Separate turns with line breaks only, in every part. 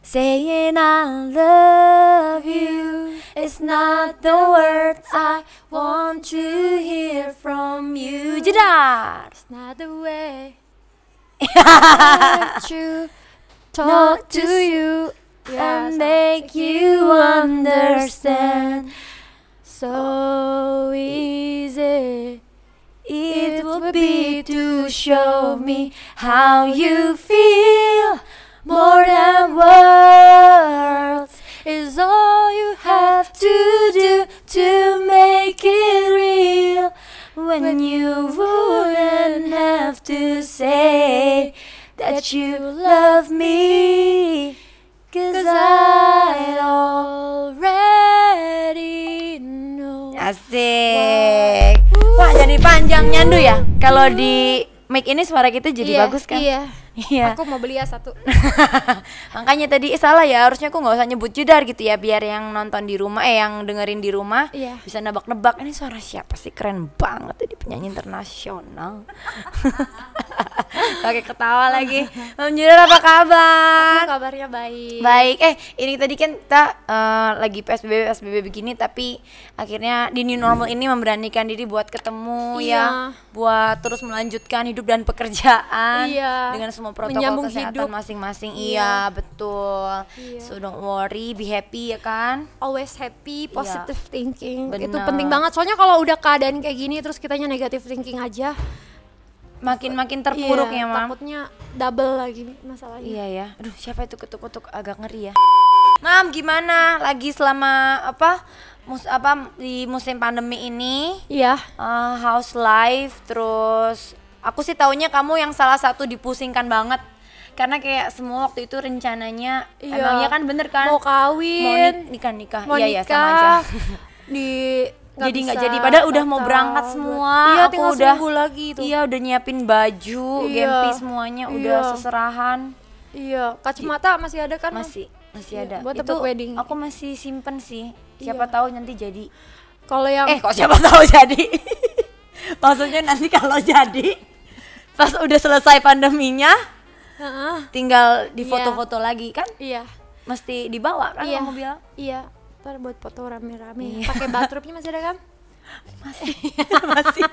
Saying I love you is not the words I want to hear from you. Jedar.
It's not the way
True.
talk to you
and make you understand.
so easy.
It would be to show me how you feel more than words is all you have to do to make it real. When you wouldn't have to say that you love me, cause I already know.
Asik.
Wah jadi panjang nyandu ya. Kalau di mic ini suara kita jadi
Iya,
bagus kan?
Iya.
Iya.
Aku mau beli ya satu.
Makanya tadi eh, salah ya. Harusnya aku nggak usah nyebut judar gitu ya. Biar yang nonton di rumah, eh yang dengerin di rumah
Iya.
bisa nebak-nebak ini suara siapa sih? Keren banget tadi penyanyi internasional. Pakai ketawa lagi. Om Judar apa kabar?
Kabarnya baik.
Baik, eh ini tadi kan kita eh, lagi PSBB PSBB begini tapi akhirnya di new normal ini memberanikan diri buat ketemu
Iya.
ya, buat terus melanjutkan hidup dan pekerjaan
Iya.
dengan semua protokol
Menyambung
kesehatan
hidup.
masing-masing.
Iya.
Iya, betul. So don't worry, be happy ya kan?
Always happy, positive thinking. Itu
Iya. Benar.
penting banget. Soalnya kalau udah keadaan kayak gini terus kitanya negative thinking aja,
Makin-makin terpuruk ya,
iya,
Mam.
Takutnya double lagi masalahnya.
Iya ya. Aduh, siapa itu ketuk-ketuk agak ngeri ya. Mam, gimana? Lagi selama apa? Mus apa di musim pandemi ini?
Iya.
Eh, house life terus aku sih taunya kamu yang salah satu dipusingkan banget karena kayak semua waktu itu rencananya
Iya.
emangnya kan bener kan
Mau
mau
kawin.
nik- nikah nikah
mau
iya iya sama aja
nikah, di
jadi nggak
bisa,
jadi padahal udah mau
batal,
berangkat
buat-
semua
Iya,
aku
tinggal
udah
seminggu lagi itu.
iya udah nyiapin baju
Iya.
gempi semuanya udah
Iya.
seserahan
Iya, kacamata masih ada kan? Mam?
masih masih
Iya,
ada
buat
itu
tempat wedding.
aku masih simpen sih siapa
Iya.
tahu nanti jadi
Kalau yang
Eh kok siapa tahu jadi? Maksudnya nanti kalau jadi pas udah selesai pandeminya
Heeh.
tinggal di foto-foto lagi kan?
Iya.
Mesti dibawa kan
iya.
kamu bilang?
Iya. Ntar buat foto
Iya.
rame-rame. Pakai batrupnya masih ada kan?
Masih.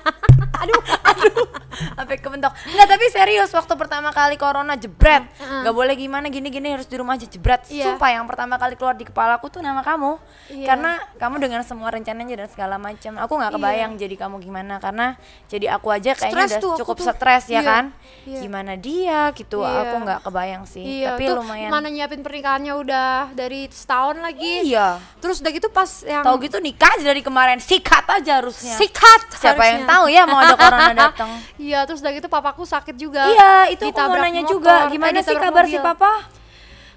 aduh, aduh. Sampai kebentok. Enggak, tapi serius waktu pertama kali corona jebret.
Heeh.
nggak boleh gimana gini-gini harus di rumah aja jebret.
Iya.
Sumpah yang pertama kali keluar di kepala aku tuh nama kamu.
Iya.
Karena kamu dengan semua rencananya dan segala macam. Aku nggak kebayang jadi kamu gimana karena jadi aku aja kayaknya
Stres tuh
udah
aku
cukup
tuh.
stres ya
Iya.
kan.
Iya.
Gimana dia gitu.
Iya.
Aku nggak kebayang sih.
Iya,
tapi
tuh
lumayan.
mana nyiapin pernikahannya udah dari setahun lagi.
Iya.
Terus udah gitu pas yang
Tahu gitu nikah aja dari kemarin sikat aja harusnya.
sikat.
Siapa yang
harusnya.
tahu ya mau ada corona datang.
Iya, terus udah gitu papaku sakit juga.
Iya, itu aku mau
Ditabrak
nanya
motor,
juga
eh,
gimana sih
ditabrak
kabar si
mobil.
papa?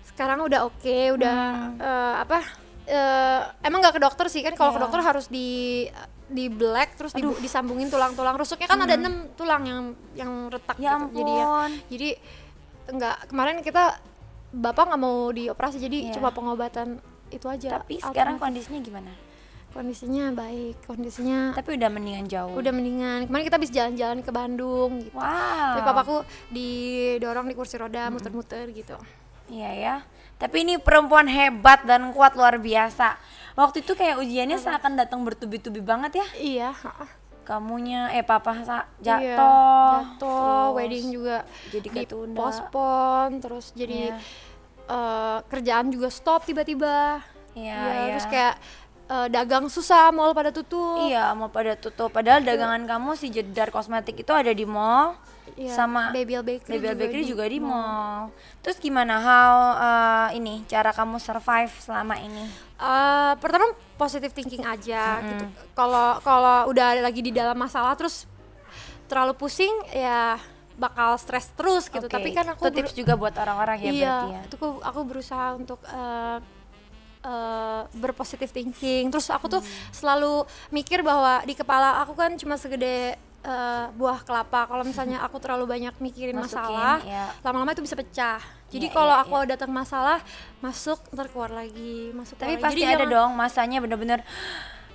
Sekarang udah oke, udah
Hmm.
eh, apa? eh, emang nggak ke dokter sih kan?
Iya.
Kalau ke dokter harus di di black terus dibu- disambungin tulang-tulang rusuknya kan ada enam tulang yang yang retak
Hmm. Ya
gitu. Jadi ya,
ampun.
jadi nggak kemarin kita bapak nggak mau dioperasi jadi
Iya.
cuma pengobatan itu aja.
Tapi sekarang
alternatif.
kondisinya gimana?
kondisinya baik, kondisinya
Tapi udah mendingan jauh.
udah mendingan. Kemarin kita bisa jalan-jalan ke Bandung gitu.
Wow. Hmm.
Tapi papaku didorong di kursi roda muter-muter gitu.
Iya ya. Tapi ini perempuan hebat dan kuat luar biasa. Waktu itu kayak ujiannya seakan datang bertubi-tubi banget ya.
Iya, heeh.
Kamunya eh papa sa- jatuh.
Iya,
Iya,
jatuh,
Terus
wedding juga
jadi ketunda. Iya.
dipospon, terus jadi eh, kerjaan juga stop tiba-tiba.
Iya,
Iya, terus
iya.
kayak eh, dagang susah, mall pada tutup.
Iya, mau pada tutup. Padahal dagangan kamu si Jedar Kosmetik itu ada di mall.
Iya,
Sama
Babel Bakery
Babel
juga
Bakery
di
juga, di mall. Terus gimana how uh, ini cara kamu survive selama ini?
Eh, pertama positive thinking aja gitu. Kalau kalau udah lagi di dalam masalah terus terlalu pusing ya bakal stres terus gitu.
Oke,
Tapi kan aku
itu
ber-
tips juga buat orang-orang ya
iya,
berarti ya.
itu aku, aku berusaha untuk eh, eh, berpositif thinking. Terus aku tuh
Hmm.
selalu mikir bahwa di kepala aku kan cuma segede eh, buah kelapa. Kalau misalnya aku terlalu banyak mikirin
Masukin,
masalah,
iya.
lama-lama itu bisa pecah. Jadi
Iya,
kalau
iya,
aku datang masalah, masuk ntar keluar lagi, masuk
Tapi
keluar lagi.
pasti
Oh, Jadi
ada
jangan-
dong masanya bener-bener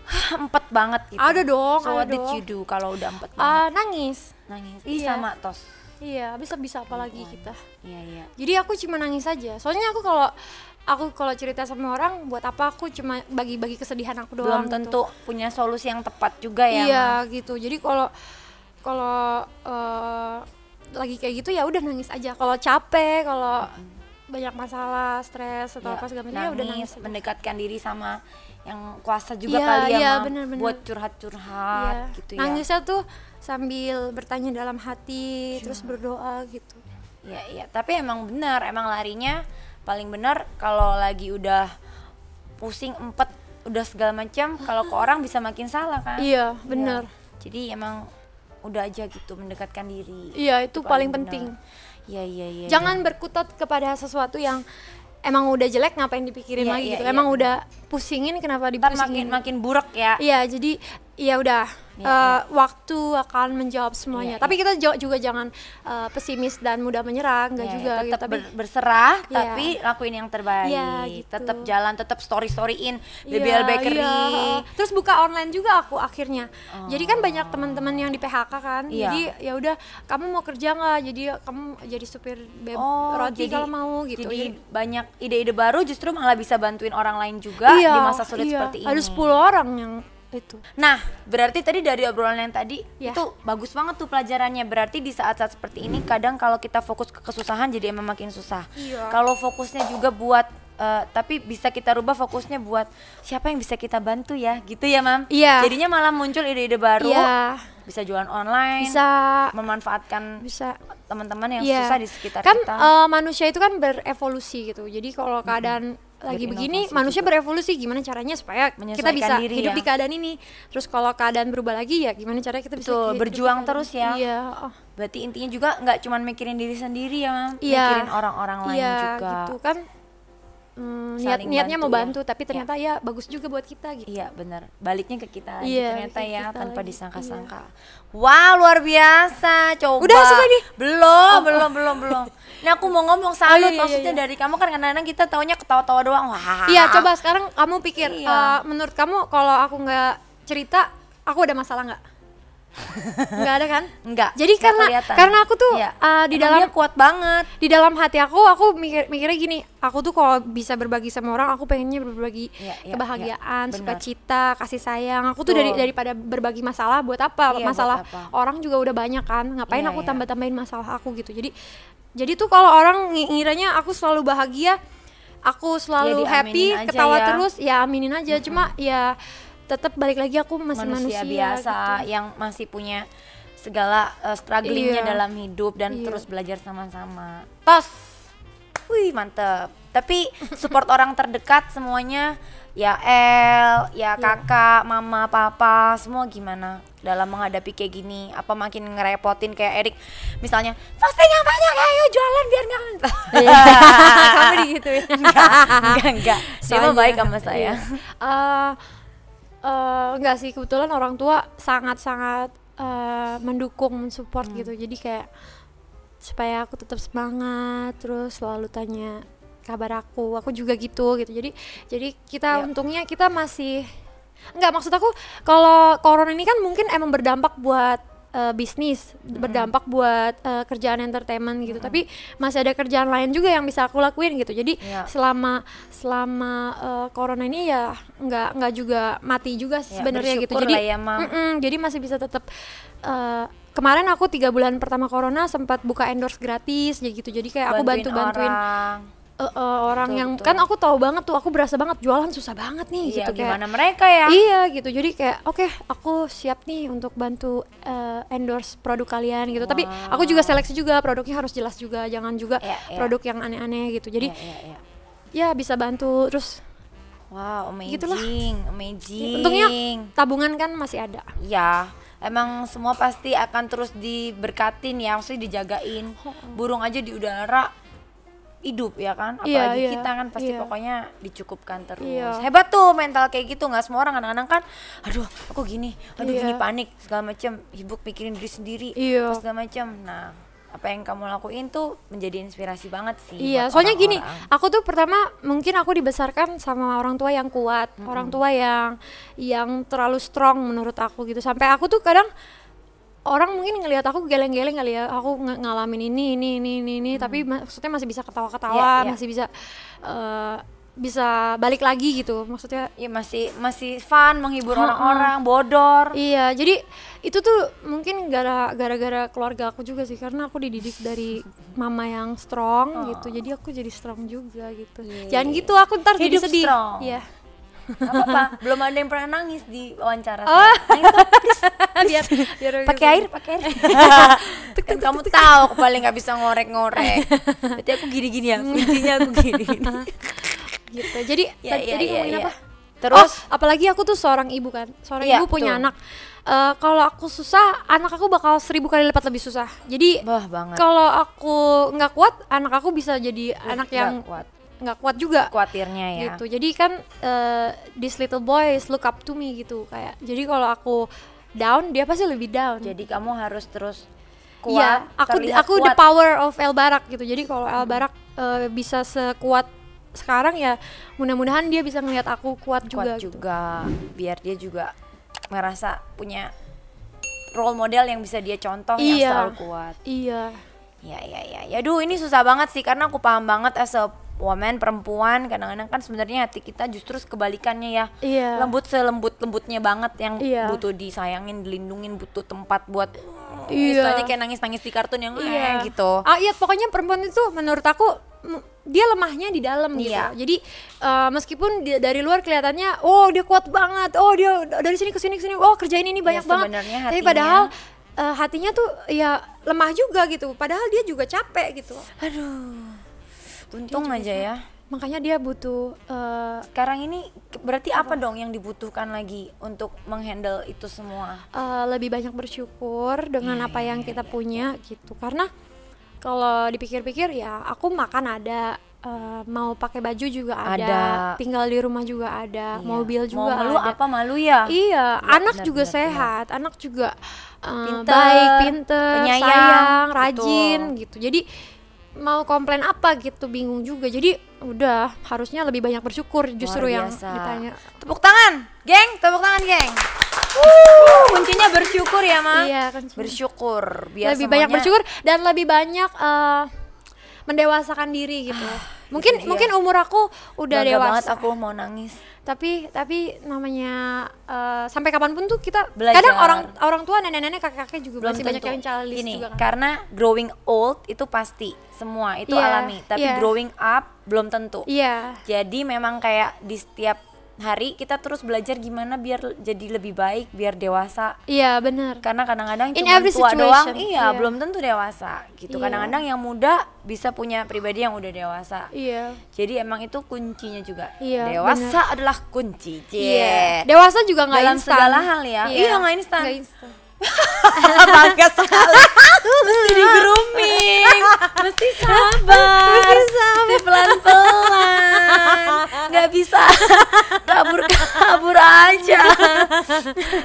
empet banget gitu.
Ada dong,
So
ada
what did
dong.
you do kalau udah empet banget?
Ah, nangis.
Nangis. Ih
iya.
sama tos.
Iya, bisa bisa apa lagi kita.
Iya iya.
Jadi aku cuma nangis aja. Soalnya aku kalau aku kalau cerita sama orang buat apa aku cuma bagi-bagi kesedihan aku
belum
doang gitu.
tentu punya solusi yang tepat juga ya
iya
Ma.
gitu jadi kalau kalau eh, lagi kayak gitu ya udah nangis aja kalau capek kalau banyak masalah stres atau
Ya,
apa segala macam ya udah nangis aja.
mendekatkan diri sama yang kuasa juga
Iya,
kali ya,
iya,
Ma,
benar-benar.
buat curhat-curhat
Iya.
gitu ya
nangisnya tuh sambil bertanya dalam hati terus berdoa gitu
Iya iya, tapi emang benar, emang larinya paling benar kalau lagi udah pusing empet udah segala macam, kalau ke orang bisa makin salah kan?
Iya, benar.
Iya. Jadi emang udah aja gitu mendekatkan diri.
Iya, itu paling
benar.
penting.
Iya iya iya.
jangan berkutat kepada sesuatu yang emang udah jelek ngapain dipikirin
Iya,
lagi
iya,
gitu
iya,
emang udah pusingin kenapa
iya. Ntar makin
dipusingin
makin buruk ya.
iya jadi ya udah
Iya,
eh,
iya.
waktu akan menjawab semuanya
Iya,
tapi kita jo- juga jangan eh, pesimis dan mudah menyerah nggak
Iya,
juga
iya, tetap
gitu tapi
ber- berserah
Iya.
tapi lakuin yang terbaik
Iya, gitu.
tetap jalan tetap story storyin
Iya,
BBL Bakery
iya. terus buka online juga aku akhirnya jadi kan banyak teman-teman yang di PHK kan
Oh. Iya.
jadi ya udah kamu mau kerja nggak jadi kamu jadi supir beb- roti
Oh, jadi-
kalau mau gitu
Jadi
Oh, Jadi-
iya. banyak ide-ide baru justru malah bisa bantuin orang lain juga di masa sulit
iya.
seperti ini.
ada 10 orang yang itu
Nah, berarti tadi dari obrolan yang tadi
Iya.
itu bagus banget tuh pelajarannya. Berarti di saat-saat seperti ini kadang kalau kita fokus ke kesusahan jadi emang makin susah.
Iya.
Kalau fokusnya juga buat eh, tapi bisa kita rubah fokusnya buat siapa yang bisa kita bantu ya, gitu ya, Mam.
Iya.
Jadinya malah muncul ide-ide baru.
Iya.
Bisa jualan online,
bisa
memanfaatkan
bisa
teman-teman yang
Iya.
susah di sekitar
kan
kita.
eh, manusia itu kan berevolusi gitu jadi kalau keadaan lagi begini
Berinovasi
manusia berevolusi gimana caranya supaya kita
Menyesuaikan
bisa
diri
hidup
ya.
di keadaan ini terus kalau keadaan berubah lagi ya gimana caranya kita bisa
Betul,
hidup di
berjuang
keadaan
terus
ini.
ya.
iya oh.
Berarti intinya juga nggak cuman mikirin diri sendiri ya, Mam.
Iya.
Mikirin orang-orang lain
Iya,
juga.
gitu kan Mm,
Saling
niat niatnya mau
bantu ya.
bantu tapi ternyata ya bagus juga buat kita gitu
Iya, benar. Baliknya ke kita lagi
Iya,
ternyata
balik ke
ya
kita
tanpa
lagi.
disangka-sangka. Wow, luar biasa. Coba.
Udah, selesai nih?
Belum, belum, belum, belum. Ini aku mau ngomong salut
Oh, iya, iya,
maksudnya
iya.
dari kamu kan kadang-kadang kita taunya ketawa-tawa doang. Wah.
Iya, coba sekarang kamu pikir
Ah. Iya.
eh, menurut kamu kalau aku nggak cerita, aku ada masalah nggak? nggak ada kan?
Enggak.
Jadi
nggak
karena
kelihatan.
karena aku tuh
Iya.
eh, di
Emang
dalam
dia kuat banget.
di dalam hati aku aku mikir mikirnya gini, aku tuh kalau bisa berbagi sama orang, aku pengennya berbagi
Iya, iya,
kebahagiaan,
iya, benar.
sukacita, kasih sayang. Aku tuh
Betul.
dari daripada berbagi masalah buat apa?
Iya, buat
masalah
apa?
orang juga udah banyak kan. Ngapain
Iya,
aku
iya.
tambah-tambahin masalah aku gitu. Jadi jadi tuh kalau orang ngi- ngiranya aku selalu bahagia, aku selalu
diaminin
happy,
aja
ketawa
ya.
terus, ya aminin aja. Cuma ya tetap balik lagi aku masih
manusia,
manusia,
biasa
gitu.
yang masih punya segala uh, strugglingnya
Iya.
dalam hidup dan
Iya.
terus belajar sama-sama.
Tos.
Wih mantep. Tapi support orang terdekat semuanya ya El,
Iya.
ya kakak, mama, papa, semua gimana dalam menghadapi kayak gini? Apa makin ngerepotin kayak Erik? Misalnya posting yang banyak, ayo jualan biar nggak.
Kamu Iya, digituin.
enggak enggak. Dia mah
Soalnya-
baik sama saya.
iya. Eh, eh, enggak sih kebetulan orang tua sangat-sangat eh, mendukung, mensupport
Hmm.
gitu. Jadi kayak supaya aku tetap semangat, terus selalu tanya kabar aku. Aku juga gitu gitu. Jadi jadi
Iya.
kita untungnya kita masih enggak maksud aku kalau corona ini kan mungkin emang berdampak buat eh, bisnis, berdampak buat eh, kerjaan entertainment gitu. Tapi masih ada kerjaan lain juga yang bisa aku lakuin gitu. Jadi
Iya.
selama selama eh, corona ini ya nggak nggak juga mati juga
Ya,
sebenarnya gitu
bersyukur
jadi
lah ya, Mam.
mm-mm, jadi masih bisa tetap eh, kemarin aku tiga bulan pertama corona sempat buka endorse gratis ya gitu jadi kayak aku bantu bantuin orang,
orang.
orang
Betul,
yang
betul.
kan aku tahu banget tuh aku berasa banget jualan susah banget nih
Iya,
gitu kayak
gimana mereka ya?
Iya gitu, jadi kayak oke aku siap nih untuk bantu eh, endorse produk kalian gitu. Tapi aku juga seleksi juga produknya harus jelas juga, jangan juga
Iya, iya.
produk yang aneh-aneh gitu. Jadi
Iya, iya, iya.
ya bisa bantu terus
Wow, amazing,
Gitulah.
amazing.
untungnya
Hmm.
tabungan kan masih ada
Ya, emang semua pasti akan terus diberkatin ya, maksudnya dijagain. Burung aja di udara hidup ya kan, apalagi
Iya, iya,
kita kan pasti
iya.
pokoknya dicukupkan terus.
Iya.
Hebat tuh mental kayak gitu nggak semua orang kadang-kadang kan, aduh aku gini, aduh
Iya.
gini panik segala macam, sibuk mikirin diri sendiri,
Iya.
terus segala macam. Nah, apa yang kamu lakuin tuh menjadi inspirasi banget sih.
iya
buat
soalnya gini
orang-orang.
aku tuh pertama mungkin aku dibesarkan sama orang tua yang kuat
Hmm.
orang tua yang yang terlalu strong menurut aku gitu sampai aku tuh kadang orang mungkin ngelihat aku geleng-geleng kali ya aku nge- ngalamin ini ini ini ini, ini tapi maksudnya masih bisa ketawa-ketawa
Hmm. Iya, iya.
masih bisa eh, bisa balik lagi gitu maksudnya
Iya masih masih fun menghibur orang-orang, bodor.
Iya, jadi itu tuh mungkin gara- gara-gara keluarga aku juga sih karena aku dididik dari mama yang strong
Oh.
gitu. Jadi aku jadi strong juga gitu.
Yeay.
Jangan gitu aku ntar
Iya, Hidup
jadi sedih.
strong.
Iya.
Gak apa-apa, belum ada yang pernah nangis di wawancara. saya.
Oh.
Nangis dong, please.
biar ya, biar gitu.
Pakai air, pakai air. Kan kamu tahu aku paling nggak bisa ngorek-ngorek. Berarti aku gini-gini ya, kuncinya aku gini-gini.
gitu. Jadi
Iya,
tadi
iya,
tadi
iya,
ngomongin
iya.
apa?
Terus
Oh, apalagi aku tuh seorang ibu kan. Seorang
Iya,
ibu punya
betul.
anak. Eh, kalau aku susah, anak aku bakal seribu kali lipat lebih susah. Jadi
Wah banget.
kalau aku nggak kuat, anak aku bisa jadi anak
Nggak
yang
kuat.
nggak kuat juga.
Khawatirnya ya.
gitu jadi kan eh, this little boy is look up to me gitu kayak jadi kalau aku down dia pasti lebih down
Jadi kamu harus terus kuat.
Iya, aku
terlihat
aku the
kuat.
power of El Barak gitu jadi kalau El Barak eh, bisa sekuat sekarang ya mudah-mudahan dia bisa ngelihat aku kuat juga
kuat
gitu.
juga biar dia juga merasa punya role model yang bisa dia contoh yang
Iya.
selalu kuat.
iya
Ya ya ya. Ya duh ini susah banget sih karena aku paham banget as a woman perempuan kadang-kadang kan sebenarnya hati kita justru kebalikannya ya.
Iya.
Lembut selembut lembutnya banget yang
Iya.
butuh disayangin, dilindungin, butuh tempat buat
Iya.
istilahnya kayak nangis-nangis di kartun yang "Eh," gitu.
Ah iya, pokoknya perempuan itu menurut aku m- dia lemahnya di dalam gitu.
Iya.
Jadi eh, meskipun dia- dari luar kelihatannya oh dia kuat banget, oh dia d- dari sini ke sini ke sini, oh kerjain ini banyak banget.
sebenarnya
Tapi
hatinya-
padahal eh, hatinya tuh ya lemah juga gitu. Padahal dia juga capek gitu.
Untung aja ya.
Makanya dia butuh eh,
Sekarang ini ke- berarti apa dong yang dibutuhkan lagi untuk menghandle itu semua?
eh, lebih banyak bersyukur dengan
Iya,
apa yang kita punya gitu karena kalau dipikir-pikir ya aku makan ada eh, mau pakai baju juga ada,
Ada.
tinggal di rumah juga ada
Iya.
mobil juga
Mau malu
ada
apa malu ya?
iya
Iya,
anak
benar,
juga
benar,
sehat anak juga eh,
Pinter,
baik pinter
penyayang,
sayang
betul.
rajin gitu jadi mau komplain apa gitu bingung juga jadi udah harusnya lebih banyak bersyukur justru yang
biasa.
ditanya
Tepuk tangan, geng, tepuk tangan, geng. Wuh, kuncinya bersyukur ya, Ma.
iya kan
Bersyukur, biar
lebih banyak
Ya, semuanya-
bersyukur dan lebih banyak eh, mendewasakan diri gitu.
dia.
mungkin mungkin umur aku udah
Ah, iya. Bangga banget
dewasa.
aku mau nangis.
Tapi tapi namanya eh, sampai kapanpun tuh kita
Belajar.
kadang orang orang tua nenek-nenek kakek-kakek juga
Belum
masih
tentu.
banyak yang childish
Ini,
juga kan.
karena growing old itu pasti semua itu
Iya,
alami, tapi
iya.
growing up belum tentu.
Iya.
Jadi memang kayak di setiap hari kita terus belajar gimana biar l- jadi lebih baik, biar dewasa.
Iya, benar.
Karena kadang-kadang
In
cuma
every
tua doang,
situation,
iya,
iya.
belum tentu dewasa gitu.
Iya.
Kadang-kadang yang muda bisa punya pribadi yang udah dewasa.
Iya.
Jadi emang itu kuncinya juga.
Iya,
Dewasa adalah kunci. Cie.
Dewasa juga nggak
Iya. Dalam
instan.
segala hal ya. Iya, nggak instan.
Nggak instan.
Bangga sekali. mesti di grooming, mesti sabar, mesti pelan-pelan. Nggak bisa kabur-kabur aja.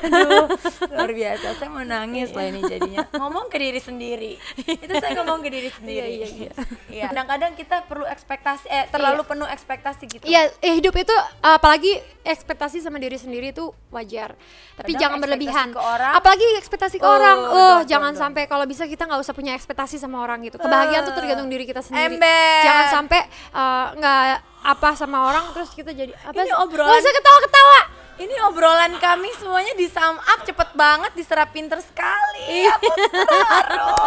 Aduh, luar biasa. Saya mau nangis loh ini jadinya. Ngomong ke diri sendiri. Itu saya ngomong ke diri sendiri.
Iya, iya,
Iya. Kadang-kadang kita perlu ekspektasi, eh terlalu penuh ekspektasi gitu.
Iya, eh, hidup itu apalagi ekspektasi sama diri sendiri itu wajar. Tapi
Kadang
jangan
ekspektasi
berlebihan.
ke orang-
apalagi ekspektasi ke
Oh,
orang. Oh,
don't,
jangan
don't, don't.
sampai kalau bisa kita nggak usah punya ekspektasi sama orang gitu. Kebahagiaan tuh tergantung diri kita sendiri.
Ember.
Jangan sampai eh, nggak apa sama orang terus kita jadi apa?
Ini
sih?
obrolan.
Nggak usah ketawa-ketawa.
Ini obrolan kami semuanya di sum up cepet banget, diserap pinter sekali. Aku terharu.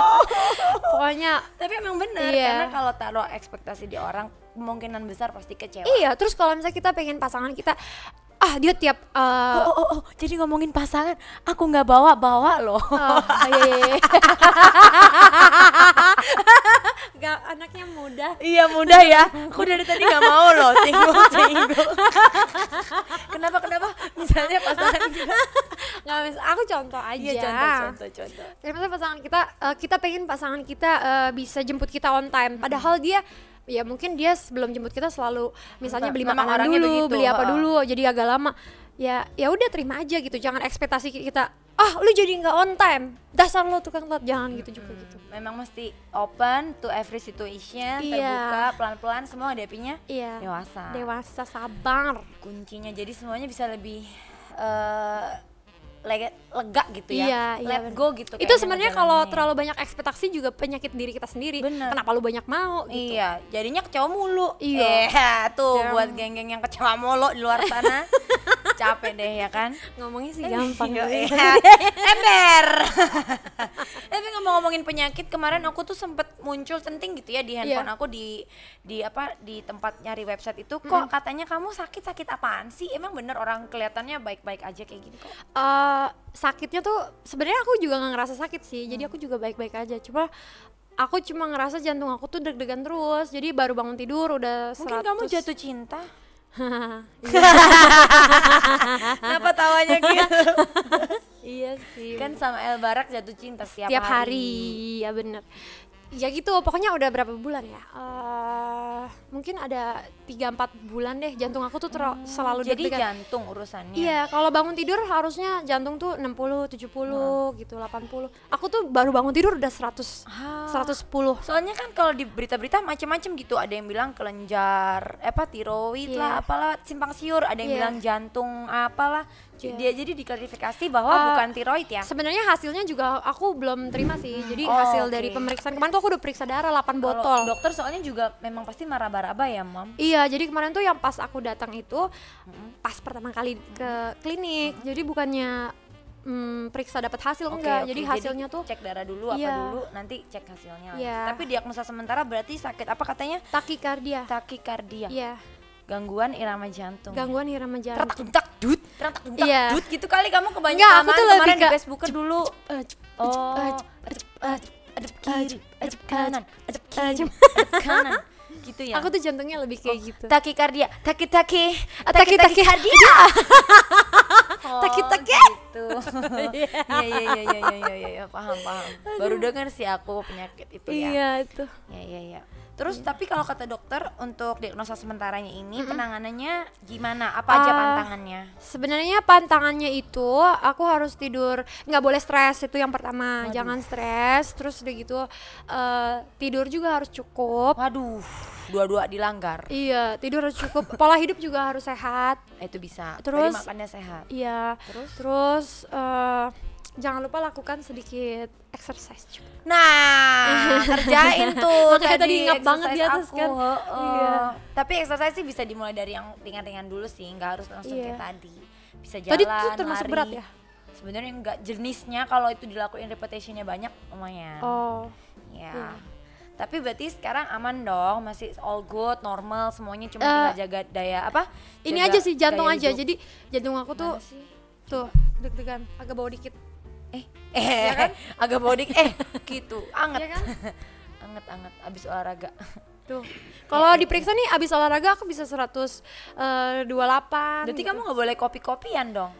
Pokoknya
Tapi emang benar
Iya.
karena kalau taruh ekspektasi di orang kemungkinan besar pasti kecewa.
iya, terus kalau misalnya kita pengen pasangan kita ah dia tiap eh,
Oh, oh, oh, jadi ngomongin pasangan, aku nggak bawa bawa loh.
Oh, iya, iya, iya. Gak, anaknya muda.
iya mudah ya, aku dari tadi nggak mau loh singgung singgung. kenapa kenapa? Misalnya pasangan kita.
Nggak, mis- aku contoh aja.
Iya contoh contoh contoh.
Kayak misalnya pasangan kita, eh, kita pengen pasangan kita eh, bisa jemput kita on time. Padahal dia ya mungkin dia sebelum jemput kita selalu misalnya beli
Memang
makanan
orangnya
dulu,
begitu,
beli apa
ha-ha.
dulu, jadi agak lama. Ya, ya udah terima aja gitu. Jangan ekspektasi kita, ah lu jadi nggak on time. Dasar lu tukang telat, jangan gitu juga gitu.
Memang mesti open to every situation,
Iya.
terbuka pelan-pelan semua hadapinya
Iya.
dewasa.
Dewasa sabar.
Kuncinya jadi semuanya bisa lebih eh, le- lega gitu ya
Iya, iya,
let
bener.
go gitu
itu
kayaknya
sebenarnya kalau
ngejalaninnya.
terlalu banyak ekspektasi juga penyakit diri kita sendiri
Bener.
kenapa lu banyak mau gitu
Iya, jadinya kecewa mulu.
Iya.
Eh, tuh
Damn.
buat geng-geng yang kecewa mulu di luar sana. Capek deh ya kan?
ngomongnya sih gampang
Iya,
tapi-
iya. Ember. Tapi ngomong-ngomongin penyakit, kemarin aku tuh sempet muncul centing gitu ya di handphone
Iya.
aku di di apa di tempat nyari website itu kok katanya kamu sakit-sakit apaan sih? Emang bener orang kelihatannya baik-baik aja kayak gini kok.
Eh, sakitnya tuh sebenarnya aku juga nggak ngerasa sakit sih
Hmm.
jadi aku juga baik-baik aja cuma aku cuma ngerasa jantung aku tuh deg-degan terus jadi baru bangun tidur udah
Mungkin
100.
kamu jatuh cinta. Kenapa tawanya gitu?
iya sih
kan sama El Barak jatuh cinta setiap,
tiap hari. ya bener ya gitu pokoknya udah berapa bulan ya Eh, mungkin ada 3-4 bulan deh jantung aku tuh ter- selalu
Hmm, Jadi
deg-degan
jantung urusannya.
kan- Iya, kalau bangun tidur harusnya jantung tuh 60, 70
Hmm.
gitu, 80. Aku tuh baru bangun tidur udah 100.
Ah.
110.
Soalnya kan kalau di berita-berita macam-macam gitu, ada yang bilang kelenjar, eh, apa tiroid
Iya.
lah, apalah simpang siur, ada yang
Iya.
bilang jantung apalah. Jadi
Iya.
dia jadi diklarifikasi bahwa
Eh,
bukan tiroid ya.
Sebenarnya hasilnya juga aku belum terima sih. Jadi
Oh,
hasil
oke.
dari pemeriksaan kemarin tuh aku udah periksa darah 8
Kalau
botol.
Dokter soalnya juga memang pasti marah-marah ya, Mam.
Iya, jadi kemarin tuh yang pas aku datang itu pas pertama kali ke klinik. Jadi bukannya mm, periksa dapat hasil
Oke,
enggak.
oke,
jadi hasilnya tuh
cek darah dulu apa
Iya.
dulu, nanti cek hasilnya. lagi.
Iya.
Tapi diagnosa sementara berarti sakit apa katanya?
takikardia.
Takikardia,
Iya,
gangguan irama jantung.
gangguan irama jantung.
Terantak duntak dut, terantak duntak
Iya.
dut gitu kali kamu
Enggak,
kebanyakan
aku tuh lebih
kemarin di
ke-
Facebook dulu.
Eh, cep-
Oh,
eh, cep-
adep,
eh,
adep, adep kiri, adep kanan, adep
eh,
kiri, Oh,
cep-
adep kanan. Gitu ya.
Aku tuh jantungnya lebih kayak gitu.
takikardia, taki-taki,
taki- Iya.
taki-taki kardia.
Taki-taki.
Oh, gitu. Iya, iya, iya, iya, iya, iya, iya, paham, paham. Baru dengar sih aku penyakit itu ya.
Iya itu.
Iya iya iya. Terus tapi kalau kata dokter untuk diagnosa sementaranya ini penanganannya gimana? Apa aja
Ah,
pantangannya?
Sebenarnya pantangannya itu aku harus tidur nggak boleh stres itu yang pertama jangan stres terus udah gitu eh, tidur juga harus cukup
Waduh, dua-dua dilanggar.
iya tidur harus cukup pola hidup juga harus sehat
Eh, Itu bisa. Terus
Terus-
makannya sehat.
iya
Terus?
terus terus eh, jangan lupa lakukan sedikit exercise juga
Nah, kerjain tuh
Makanya tadi ingat banget di
exercise
atas kan.
heeh.
Iya.
Tapi exercise sih bisa dimulai dari yang ringan-ringan dulu sih, nggak harus langsung
Iya.
kayak tadi. Bisa jalan,
Tadi tuh termasuk
lari.
berat ya?
Sebenarnya enggak jenisnya kalau itu dilakuin repetitionnya banyak lumayan.
oh Iya.
Ya. Tapi berarti sekarang aman dong, masih all good, normal, semuanya cuma
Eh,
tinggal jaga daya apa?
ini
Jaga
aja sih jantung
gaya
aja
hidup.
jadi jantung aku tuh
Mana sih?
tuh deg-degan agak bawah dikit
eh eh agak bodik eh gitu, anget.
kan? Iya kan?
anget anget abis olahraga.
Tuh. Kalau diperiksa nih abis olahraga aku bisa eh, 128.
Berarti
gitu.
kamu nggak boleh kopi-kopian dong.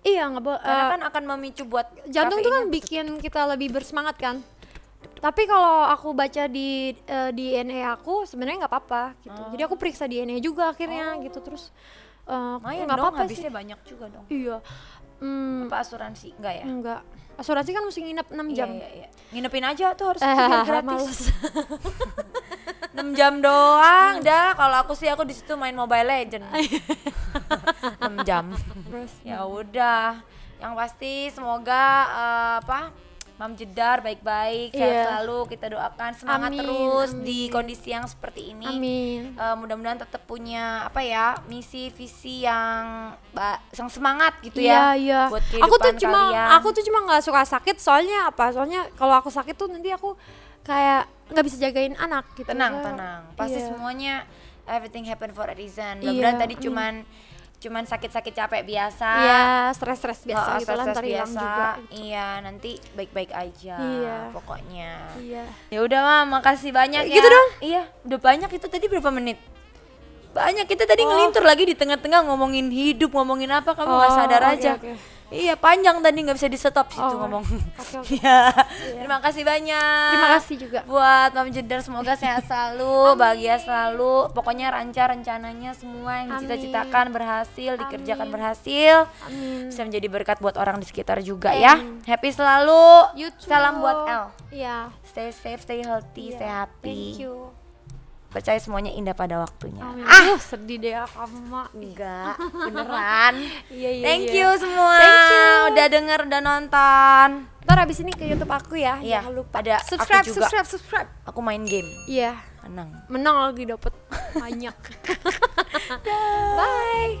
Iya, nggak boleh.
Karena kan akan memicu buat
jantung tuh kan
kafeinnya.
bikin kita lebih bersemangat kan. Tapi kalau aku baca di eh, DNA aku sebenarnya nggak apa-apa gitu.
Oh.
Jadi aku periksa DNA juga akhirnya gitu terus eh,
lumayan Oh.
nggak
dong,
apa-apa sih.
habisnya banyak juga dong.
Iya. Hmm,
Apa asuransi enggak ya?
enggak. Asuransi kan mesti nginep 6 jam.
Iya, iya, iya. Nginepin aja tuh harus
Eh,
biar gratis.
males.
6 jam doang
Iya.
dah kalau aku sih aku di situ main Mobile Legend 6 jam ya udah yang pasti semoga eh, apa Mam Jedar baik-baik sehat
Iya.
selalu kita doakan semangat
Amin,
terus
amin.
di kondisi yang seperti ini
Amin.
Eh, mudah-mudahan tetap punya apa ya misi visi yang ba- yang semangat gitu ya
Iya,
buat
iya. Aku tuh
kehidupan
cuma
kalian.
aku tuh cuma nggak suka sakit soalnya apa? Soalnya kalau aku sakit tuh nanti aku kayak nggak bisa jagain anak gitu.
tenang
Saya-
tenang pasti
iya.
semuanya everything happen for a reason mudah-mudahan
Iya,
tadi
amin.
cuman cuman sakit-sakit capek biasa
Iya, stres-stres biasa
Oh,
gitu lah
stres-stres
ntar hilang
biasa.
juga. gitu.
iya nanti baik-baik aja
Iya.
pokoknya
Iya.
ya udah mam makasih banyak ya
Gitu dong?
iya udah banyak itu tadi berapa menit banyak kita tadi
Oh.
ngelintur lagi di tengah-tengah ngomongin hidup ngomongin apa kamu nggak
Oh,
sadar
oke,
aja
oke.
iya panjang tadi nggak bisa di stop situ
Oh,
ngomong
oke, oke.
Iya. terima kasih banyak
Terima kasih juga.
buat Mam Jedar semoga sehat selalu, bahagia selalu. Pokoknya rancar rencananya semua yang
Amin.
dicita-citakan berhasil, dikerjakan
Amin.
berhasil.
Amin.
Bisa menjadi berkat buat orang di sekitar juga ya.
Amin.
Happy selalu.
You too.
Salam buat El.
Iya.
Stay safe, stay healthy,
iya.
stay happy.
Thank you.
percaya semuanya indah pada waktunya
Amin. Ah, sedih deh aku sama Mak.
enggak beneran
Iya, iya,
thank
iya.
you semua
Thank you.
udah denger udah nonton
Ntar abis ini ke YouTube aku ya.
Iya,
Jangan lupa.
ada aku
subscribe,
juga.
subscribe, subscribe.
aku main game
Iya,
menang
menang lagi dapet banyak. Bye.